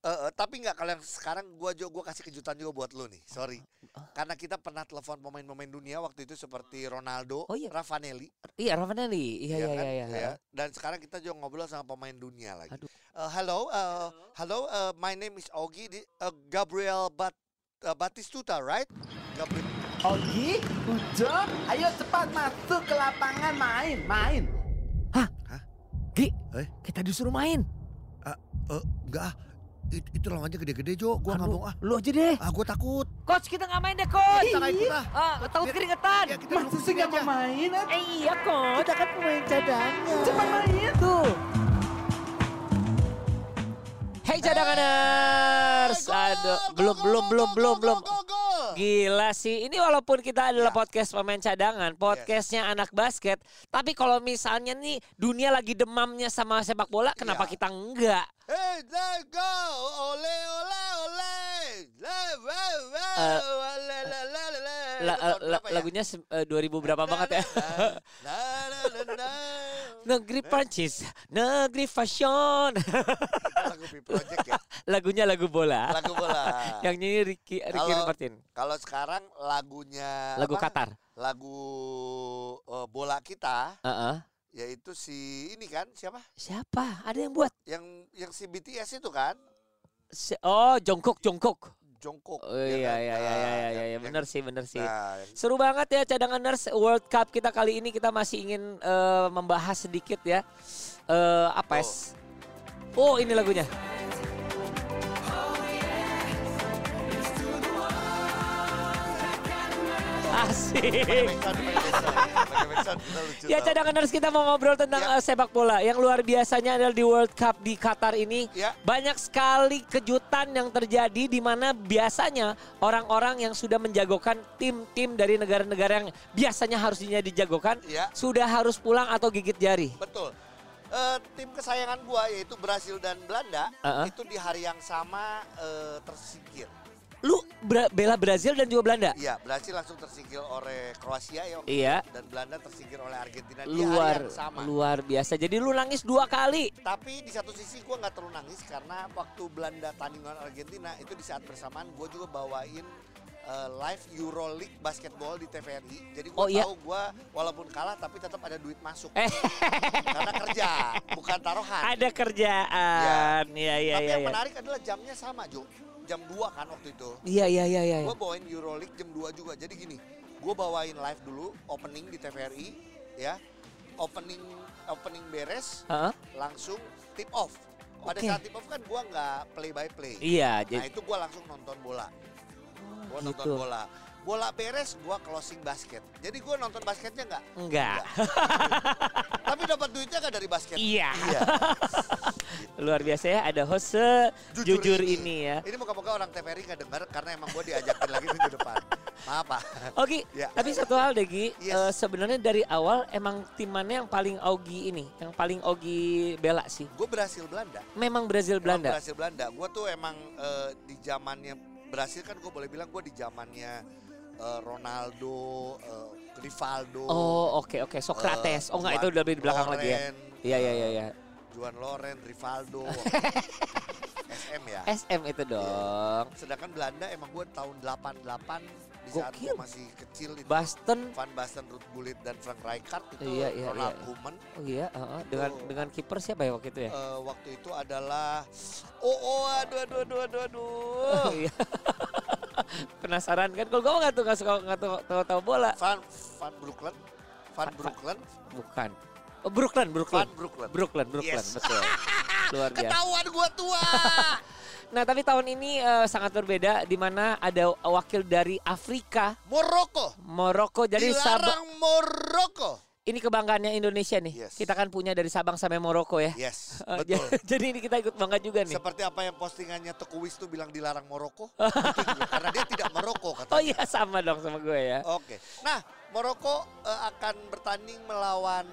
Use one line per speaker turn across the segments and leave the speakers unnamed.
Eh, eh, tapi nggak kalian sekarang gua juga gua kasih kejutan juga buat lu nih. Sorry. Karena kita pernah telepon pemain-pemain dunia waktu itu seperti Ronaldo,
Oh, iya.
Ravanelli,
Iya, Ravanelli. Iya,
ya
iya,
kan?
iya, iya.
Ya. Dan sekarang kita juga ngobrol sama pemain dunia lagi.
Aduh.
Eh, hello, eh, hello. eh, my name is Ogi. Di- eh, Gabriel Bat eh, Batistuta, right? Gabriel.
Ogi, Ujo, ayo cepat masuk ke lapangan main, main.
Gi,
Eh?
kita disuruh main.
Eh, enggak ah. It, itu lawannya gede-gede Jo, gua
Kan
nggak
lu-
mau ah.
Lu aja deh.
Ah gua takut.
Coach, kita nggak main deh, coach.
Kita nggak ikut ah.
Ah, takut
Ya,
keringetan.
kita
Masa
duduk
sih
sini
nggak
aja.
mau main? ah?
Eh, iya, coach.
Kita kan pemain cadangan.
Cepat main tuh. Hey
Eh,
cadanganers. Aduh, belum belum belum belum belum.
Oh,
Gila sih, ini walaupun kita adalah
Iya.
Ya.
podcast pemain cadangan, podcastnya anak basket, tapi kalau misalnya nih dunia lagi demamnya sama sepak bola, kenapa
Iya.
kita enggak?
Hey, let's go! Ole, ole, ole! Le- we- we-
Eh,
le- le- le- le- le.
Eh,
La-
Itu tahun
Eh, la-
berapa ya?
lagunya se- eh, 2000 berapa banget ya?
Na, na, na, na, na. Eh?
Negeri Prancis, negeri fashion.
Lagu P Project ya,
Lagunya lagu bola.
lagu bola.
Yang nyanyi Ricky Ricky
Kalau-
Martin.
Kalau sekarang lagunya
Lagu
apa?
Qatar.
Lagu eh, bola kita
Heeh.
yaitu si ini kan siapa?
Siapa? Ada yang buat?
Yang yang si BTS itu kan?
Si- Oh, Jongkok, Jongkok.
Jongkok.
Oh iya
kan?
iya iya
Nah,
iya iya,
yang-
iya,
yang-
benar sih benar sih.
Nah, yang-
Seru banget ya cadanganers World Cup kita kali ini kita masih ingin eh, membahas sedikit ya eh apa ya? s- Oh ini lagunya.
Oh, pakai
Asik.
backsound, pakai backsound. Pakai backsound kita lucu
Eh. Ya
tau.
cadanganers kita mau ngobrol tentang
Ya.
eh, sepak bola yang luar biasanya adalah di World Cup di Qatar ini
Ya.
banyak sekali kejutan yang terjadi di mana biasanya orang-orang yang sudah menjagokan tim-tim dari negara-negara yang biasanya harusnya dijagokan
Ya.
sudah harus pulang atau gigit jari.
Betul. Eh, tim kesayangan gua yaitu Brasil dan Belanda
Uh-uh.
itu di hari yang sama eh, tersingkir.
Lu bra- bela Brazil dan juga Belanda.
Iya, Brasil langsung tersingkir oleh Kroasia ya waktu
Iya.
itu. dan Belanda tersingkir oleh Argentina di hari
Luar
yang sama.
luar biasa. Jadi lu nangis dua kali.
Tapi di satu sisi gua nggak terlalu nangis karena waktu Belanda tanding lawan Argentina itu di saat bersamaan gua juga bawain eh, live Euroleague basketball di TVRI. Jadi gua
Oh, iya.
tahu gua walaupun kalah tapi tetap ada duit masuk
Eh,
karena kerja, bukan taruhan.
ada kerjaan. Iya iya
Tapi
iya.
yang
iya.
menarik adalah jamnya sama, Jo. Jam 2 kan waktu itu.
Iya iya iya iya.
Gue bawain Euroleague jam 2 juga. Jadi gini, gue bawain live dulu opening di TVRI ya. Opening opening beres,
Heeh.
langsung tip off. Pada
Oke.
saat tip off kan gue nggak play by play.
Iya,
Nah,
jadi
itu gue langsung nonton bola. Gue nonton
gitu.
bola. Bola beres, gue closing basket. Jadi gue nonton basketnya nggak?
enggak.
Tapi dapat duitnya nggak dari basket?
Iya.
Iya.
Luar biasa ya ada host jujur,
Jujur
ini.
ini.
ya.
Ini moga-moga orang TVRI nggak dengar karena emang gue diajakin lagi minggu depan. Maaf Pak.
Oke,
Ya.
tapi satu hal deh Gi,
Yes.
Eh, sebenarnya dari awal emang tim mana yang paling Ogi ini, yang paling Ogi bela sih.
Gue berhasil Belanda.
Memang Brazil Belanda.
Berhasil Belanda. Gue tuh emang eh, di zamannya berhasil kan gue boleh bilang gue di zamannya eh, Ronaldo, eh, Rivaldo.
Oh, oke oke Socrates. oh enggak itu udah di belakang lagi ya. Iya iya iya iya.
Juan Loren, Rivaldo. SM ya.
SM itu dong.
Sedangkan Belanda emang gue tahun 88 di saat
Gokil.
gue masih kecil itu
Basten
Van Basten, Ruud Gullit dan Frank Rijkaard itu
Iya, iya,
Ronald
iya.
Koeman
Oh iya, heeh. dengan
Tuh.
dengan kiper siapa ya waktu itu ya?
eh, waktu itu adalah oh oh aduh aduh aduh aduh aduh
Oh iya. Penasaran kan? Kalau gue nggak tuh nggak suka nggak tahu tahu- tahu bola.
Van Van Brooklyn Van Brooklyn
Bukan. Oh, Brooklyn, Brooklyn.
Van Brooklyn
Brooklyn, Brooklyn,
Yes.
betul. Luar biasa.
ketahuan gua tua
Nah, tapi tahun ini eh, sangat berbeda di mana ada wakil dari Afrika,
Moroko
Maroko. Jadi Sabang
dilarang Moroko
ini kebanggaannya Indonesia nih.
Yes.
Kita kan punya dari Sabang sampai Maroko ya.
yes
Eh,
betul
Jadi ini kita ikut bangga juga nih.
seperti apa yang postingannya Tekuwis tuh bilang dilarang Moroko itu juga, karena dia tidak Merokok katanya
iya. Oh iya sama dong sama gue ya.
Oke. Nah, Maroko eh, akan bertanding melawan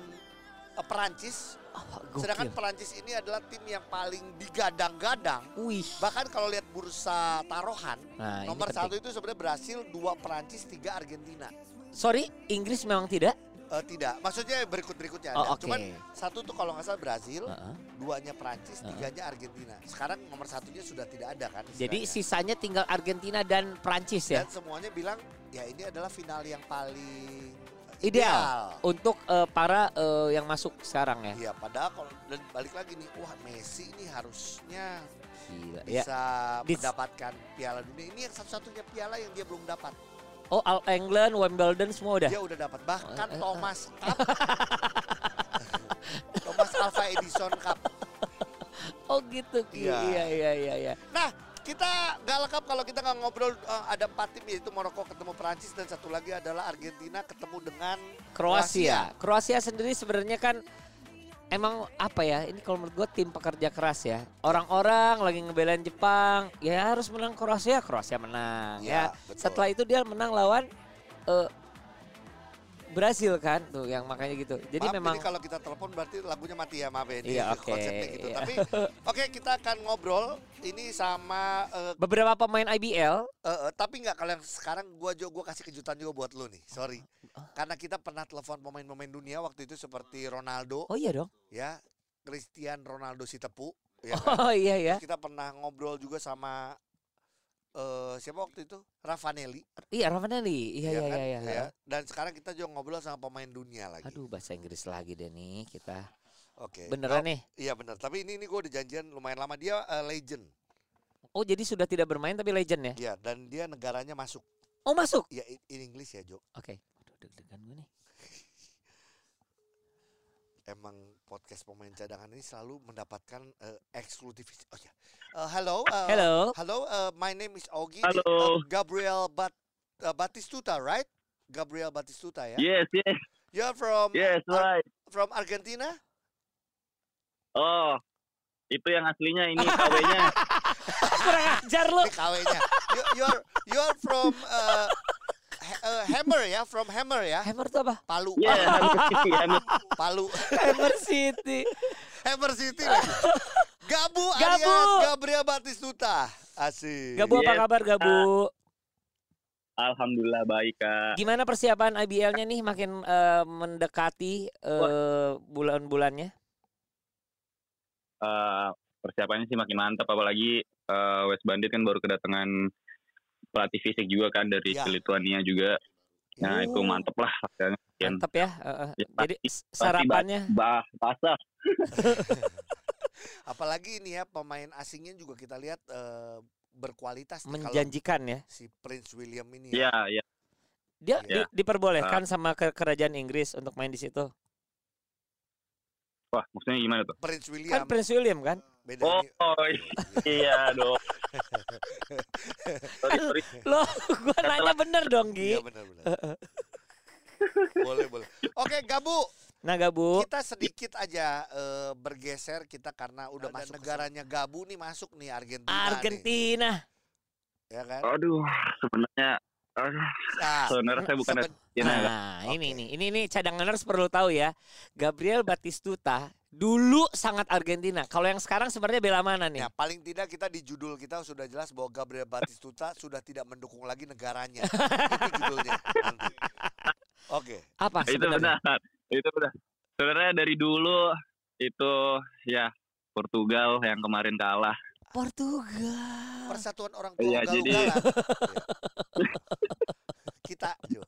eh, Perancis.
Oh, gokil.
Sedangkan Perancis ini adalah tim yang paling digadang-gadang.
Wih.
Bahkan kalau lihat bursa taruhan,
Nah, ini
nomor
penting.
satu itu sebenarnya Brasil, dua Perancis, tiga Argentina.
Sorry, Inggris memang tidak.
Eh, tidak, maksudnya berikut-berikutnya ada.
Oh, oke.
Cuman satu tuh kalau nggak salah Brazil,
Heeh.
duanya Prancis, tiganya Argentina. Sekarang nomor satunya sudah tidak ada kan? istilahnya.
Jadi sisanya tinggal Argentina dan Prancis ya.
dan semuanya bilang ya ini adalah final yang paling
Ideal untuk eh, para eh, yang masuk sekarang ya.
Iya, padahal kalau dan balik lagi nih, wah Messi ini harusnya
Gila. Ya.
bisa
Dis-
mendapatkan Piala Dunia. Ini yang satu-satunya piala yang dia belum dapat.
Oh, All England, Wimbledon semua udah.
Dia udah dapat bahkan
Eh, eh,
Kan
eh.
Thomas Cup. Thomas Alva Edison Cup.
Oh gitu. Ki.
Iya.
Iya iya iya iya.
Nah, kita nggak lengkap kalau kita nggak ngobrol eh, ada empat tim yaitu Maroko ketemu Prancis dan satu lagi adalah Argentina ketemu dengan
Kroasia. Kroasia sendiri sebenarnya kan emang apa ya? Ini kalau menurut gue tim pekerja keras ya. Orang-orang lagi ngebelain Jepang, ya harus menang Kroasia. Kroasia menang ya.
Iya, betul.
Setelah itu dia menang lawan eh, Brasil kan tuh yang makanya gitu. Jadi
Maaf,
memang
ini kalau kita telepon berarti lagunya mati ya, maaf ya. ini
Iya, oke,
Konsepnya gitu.
iya.
Tapi oke, kita akan ngobrol ini sama eh,
beberapa pemain IBL
eh, eh, tapi nggak kalau yang sekarang gua juga gua kasih kejutan juga buat lu nih. Sorry.
Oh,
Karena kita pernah telepon pemain-pemain dunia waktu itu seperti Ronaldo
Oh iya dong.
ya, Christian Ronaldo si tepu ya. kan?
Oh iya ya.
Terus Kita pernah ngobrol juga sama eh siapa waktu itu? Ravanelli
Iya Ravanelli. Iya
ya
iya
kan?
iya. iya.
Ya. Dan sekarang kita juga ngobrol sama pemain dunia lagi.
Aduh bahasa Inggris lagi deh nih kita.
Oke.
Beneran ya? nih.
Iya benar. Tapi ini ini gue udah janjian lumayan lama dia eh, legend.
Oh jadi sudah tidak bermain tapi legend
Iya
ya.
dan dia negaranya masuk.
Oh masuk.
Ya in, in English ya Jo.
Oke. Aduh deg-degan gue nih.
Emang podcast pemain cadangan ini selalu mendapatkan eh, eksklusivitas. Oh ya. Eh, hello. eh,
Hello.
Hello. eh, my name is Ogi.
Halo.
Eh, Gabriel Bat eh, Batistuta, right? Gabriel Batistuta ya.
Yes, yes,
You're from
yes,
Ar-
right.
from Argentina?
Oh, itu yang aslinya ini KW-nya.
Kurang ajar lu.
Ini KW-nya. You, you're you're from eh, Ha- eh, Hammer ya, from Hammer ya.
Hammer tuh apa?
Palu.
Yes,
Palu.
Hammer City.
Hammer City lagi. Gabu,
Gabu.
alias Gabriel Batistuta. Asik. Iya.
Gabu apa
Yes.
kabar Gabu?
Alhamdulillah baik kak.
Gimana persiapan IBL-nya nih makin eh, mendekati eh, bulan-bulannya?
Eh, persiapannya sih makin mantap, apalagi eh, West Bandit kan baru kedatangan pelatih fisik juga kan dari
Ya.
Lituania juga. Nah itu
Oh.
mantep lah. hasilnya. Sekian.
Mantap ya. eh, eh.
Ya,
Jadi s- sarapannya
Bah, basah.
Apalagi ini ya pemain asingnya juga kita lihat eh, berkualitas nih kalau
menjanjikan ya.
si Prince William ini ya.
Iya, iya.
Dia
Ya.
di- diperbolehkan sama ke- kerajaan Inggris untuk main di situ.
Wah, maksudnya gimana tuh?
Prince William
Kan Prince William kan?
beda
Oh,
ini.
iya dong. sorry, sorry.
Loh, gua nanya bener dong, Gi.
Iya benar benar. boleh boleh. Oke Gabu,
Nah, Gabu.
kita sedikit aja eh, bergeser kita karena udah masuk negaranya Gabu nih masuk nih Argentina. nih.
Argentina.
ya kan?
Aduh, sebenarnya, aduh,
Nah,
sebenarnya saya bukan
seben-
Argentina. Kak.
Nah,
Oke.
ini nih. Ini nih cadanganers perlu tahu ya. Gabriel Batistuta dulu sangat Argentina. Kalau yang sekarang sebenarnya bela mana nih?
Ya, paling tidak kita di judul kita sudah jelas bahwa Gabriel Batistuta sudah tidak mendukung lagi negaranya. Itu judulnya nanti. Oke.
Apa
itu
sebenarnya?
benar itu benar sebenarnya dari dulu itu ya Portugal yang kemarin kalah
Portugal.
Persatuan orang tua
Iya,
galau
jadi-
Kita Jo.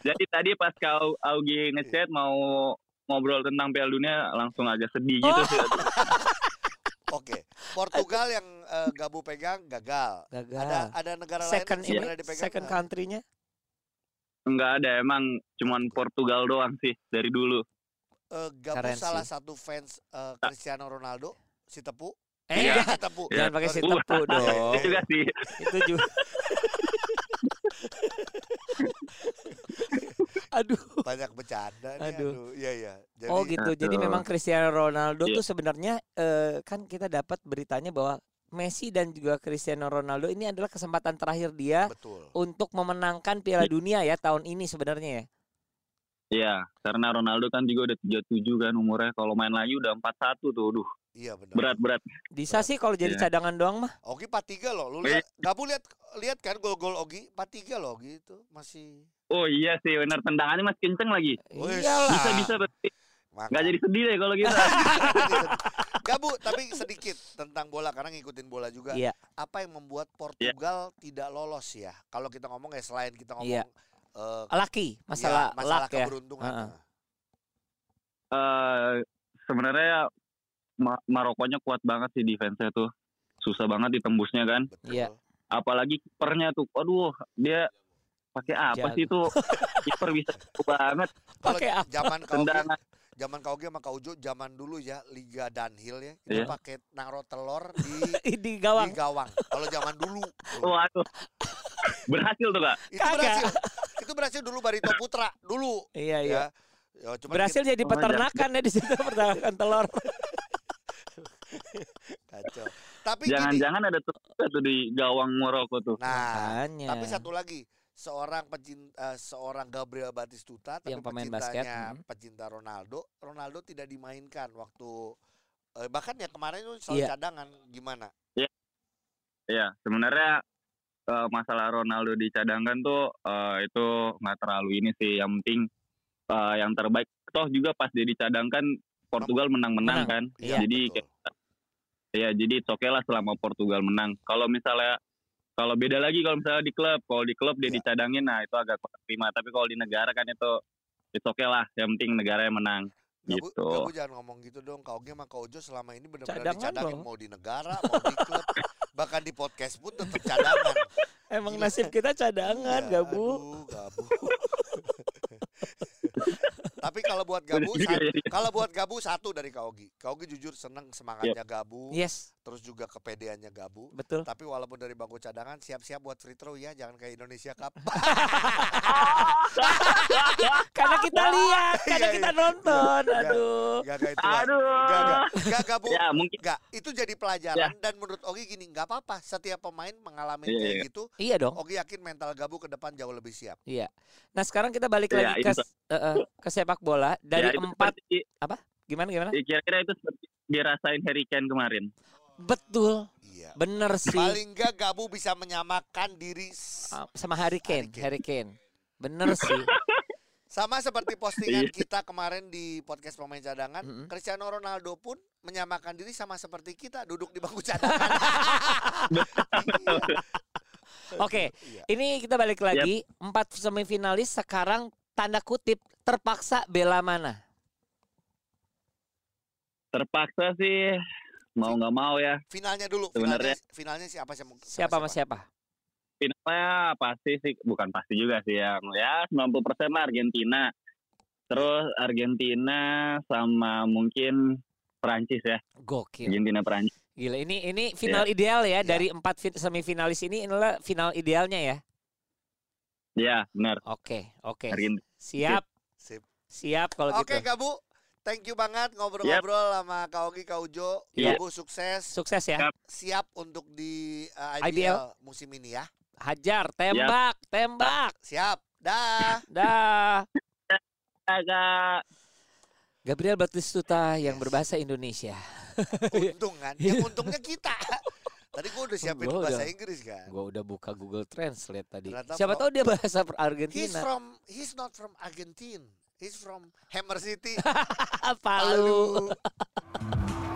jadi tadi pas kau Augie ngechat mau ngobrol tentang Piala Dunia langsung agak sedih gitu sih
Oke. Portugal yang eh, Gabu pegang gagal. Ada
Gagal.
ada negara
Nah,
lain
Second
yang
ini,
sebenarnya dipegang. eh,
second country-nya.
nggak ada emang cuman Portugal doang sih dari dulu
Eh, Gabu
Keren sih.
salah satu fans eh, Cristiano Ronaldo, si Tepu.
Eh,
Iya.
Si Tepu.
jangan pakai si
Sorry.
Uh.
tepu dong.
itu juga sih
Itu juga. Aduh.
Banyak bercanda nih. Aduh.
Aduh.
Iya iya. Jadi
Oh gitu. Jadi
Aduh.
memang Cristiano Ronaldo
Iya.
tuh sebenarnya eh, kan kita dapat beritanya bahwa Messi dan juga Cristiano Ronaldo ini adalah kesempatan terakhir dia
betul.
untuk memenangkan
Iya.
Piala Dunia ya tahun ini sebenarnya ya.
Iya, karena Ronaldo kan juga udah 37 kan umurnya. Kalau main lagi udah 41 tuh, duh,
Iya benar.
berat-berat.
Bisa sih kalau jadi
Iya.
cadangan doang mah.
Ogi 4-3 loh. Lu
Iya.
lihat, Gabu lihat lihat kan gol-gol Ogi 4-3 loh Ogi itu masih
Oh iya sih benar tendangannya masih kenceng lagi.
Wih,
Iyalah.
Bisa bisa berarti
Maka-
nggak jadi sedih deh kalau gitu. kita.
Gak bu, tapi sedikit tentang bola karena ngikutin bola juga.
Iya.
Apa yang membuat Portugal tidak lolos ya? Kalau kita ngomong ya selain kita ngomong
Iya.
eh,
Laki,
ya,
masalah,
masalah
luck ya.
keberuntungan. Nah,
Heeh.
Eh, Sebenarnya ya, Ma- Marokonya kuat banget sih defense-nya tuh. Susah banget ditembusnya kan.
Betul.
Iya.
Apalagi kipernya tuh. Aduh, dia pakai apa
Jago.
sih tuh? Kiper bisa jago banget
Kalau
Pakai apa?
zaman Kauge,
tendangan.
zaman Kauge sama Kaujo zaman dulu ya Liga Dunhill ya. Itu
Iya.
pakai naro telur di
Di
di
gawang.
gawang. Kalau zaman dulu. tuh.
Waduh. Berhasil tuh, Kak.
Itu
Kagak.
berhasil. Itu berhasil dulu Barito Putra dulu.
Iya, iya.
Ya. Ya, cuman
Berhasil jadi
Oh,
peternakan ya di situ peternakan telur.
Iya. kita kacau. Tapi gini,
Jangan-jangan ada tuh tuh di gawang Maroko tuh.
nah
Makanya.
Tapi satu lagi, seorang pecinta eh, seorang Gabriel Batistuta tapi
Yang pemain basket,
pecintanya
hmm.
pecinta Ronaldo, Ronaldo tidak dimainkan waktu eh, bahkan ya kemarin itu selalu
Iya.
cadangan gimana?
Iya, sebenarnya eh, masalah Ronaldo dicadangkan tuh eh, itu nggak terlalu ini sih. Yang penting eh, yang terbaik. Toh juga pas dia dicadangkan Portugal menang-menang
Menang,
kan.
iya.
jadi
betul.
ya jadi it's okay lah selama Portugal menang. Kalau misalnya kalau beda lagi kalau misalnya di klub, kalau di klub dia
Iya.
dicadangin nah itu agak kurang terima. Tapi kalau di negara kan itu it's okay lah. Yang penting negara yang menang.
Gabu,
gitu.
Gabu jangan ngomong gitu dong. Kau sama Kau Jo selama ini benar-benar
Cadangan
dicadangin
dong.
mau di negara, mau di klub, bahkan di podcast pun tetap cadangan.
Emang
Gila.
nasib kita cadangan,
Iya,
Gabu.
aduh, Gabu. Tapi kalau buat Gabu,
Bener juga
sat-
ya.
kalau buat Gabu satu dari Kaugi. Kaugi jujur seneng
Iya.
semangatnya Gabu.
Yes,
terus juga kepedeannya Gabu.
betul.
Tapi walaupun dari bangku cadangan siap-siap buat free throw ya, jangan kayak Indonesia Cup.
Karena kita lihat, karena
Iya,
kita
iya.
nonton.
Iya.
Aduh.
Gak kayak itu. Gak,
Aduh.
gak, Gabu.
Ya mungkin
Gak, itu jadi
Ya.
pelajaran dan menurut Ogi gini, nggak apa-apa. Setiap pemain mengalami
Iya,
kayak
iya.
gitu,
Iya dong.
Ogi yakin mental Gabu ke depan jauh lebih siap.
Nah sekarang kita balik
Iya,
lagi
itu
ke eh, eh, ke sepak bola dari
ya, itu
empat
seperti-
gimana gimana?
Ya, kira-kira itu seperti dirasain Harry Kane kemarin.
Betul,
Iya.
bener sih
Paling nggak Gabu bisa menyamakan diri s-
Ah, sama Harry Kane, Harry Kane. Bener sih.
sama seperti postingan
Iya.
kita kemarin di podcast pemain cadangan.
Mm-mm.
Cristiano Ronaldo pun menyamakan diri sama seperti kita duduk di bangku cadangan. Iya.
Oke,
Iya.
ini kita balik lagi empat semifinalis sekarang tanda kutip terpaksa bela mana?
Terpaksa sih mau nggak mau ya.
Finalnya dulu.
Sebenarnya-
finalnya, finalnya siapa sih?
Siapa sama siapa?
Finalnya pasti sih bukan pasti juga sih yang ya 90% lah Argentina. Terus Argentina sama mungkin Perancis ya.
Gokil.
Argentina Perancis.
Gila, ini ini final
Iya.
ideal ya dari empat fin- semifinalis ini inilah final idealnya ya.
Ya benar.
Oke, oke.
Argentina.
Siap,
Sip.
siap kalau
Oke,
gitu.
Gabu. Thank you banget ngobrol-ngobrol sama Kak Ogi, Kak Ujo.
Iya.
Gabu sukses.
Sukses ya.
Siap untuk di uh, IBL,
IBL.
musim ini ya.
Hajar, tembak, tembak.
Siap. Dah.
Dah.
Agak
Gabriel Batistuta yang
Yes.
berbahasa Indonesia.
Untung kan. Yang untungnya kita. Tadi gua udah siapin
Gua
bahasa
udah.
Inggris kan.
Gua udah buka Google Translate tadi.
Ternyata
Siapa
pro-
tahu dia bahasa
He's
Argentina.
from he's not from Argentina. He's from Hammer City.
Palu.
Palu.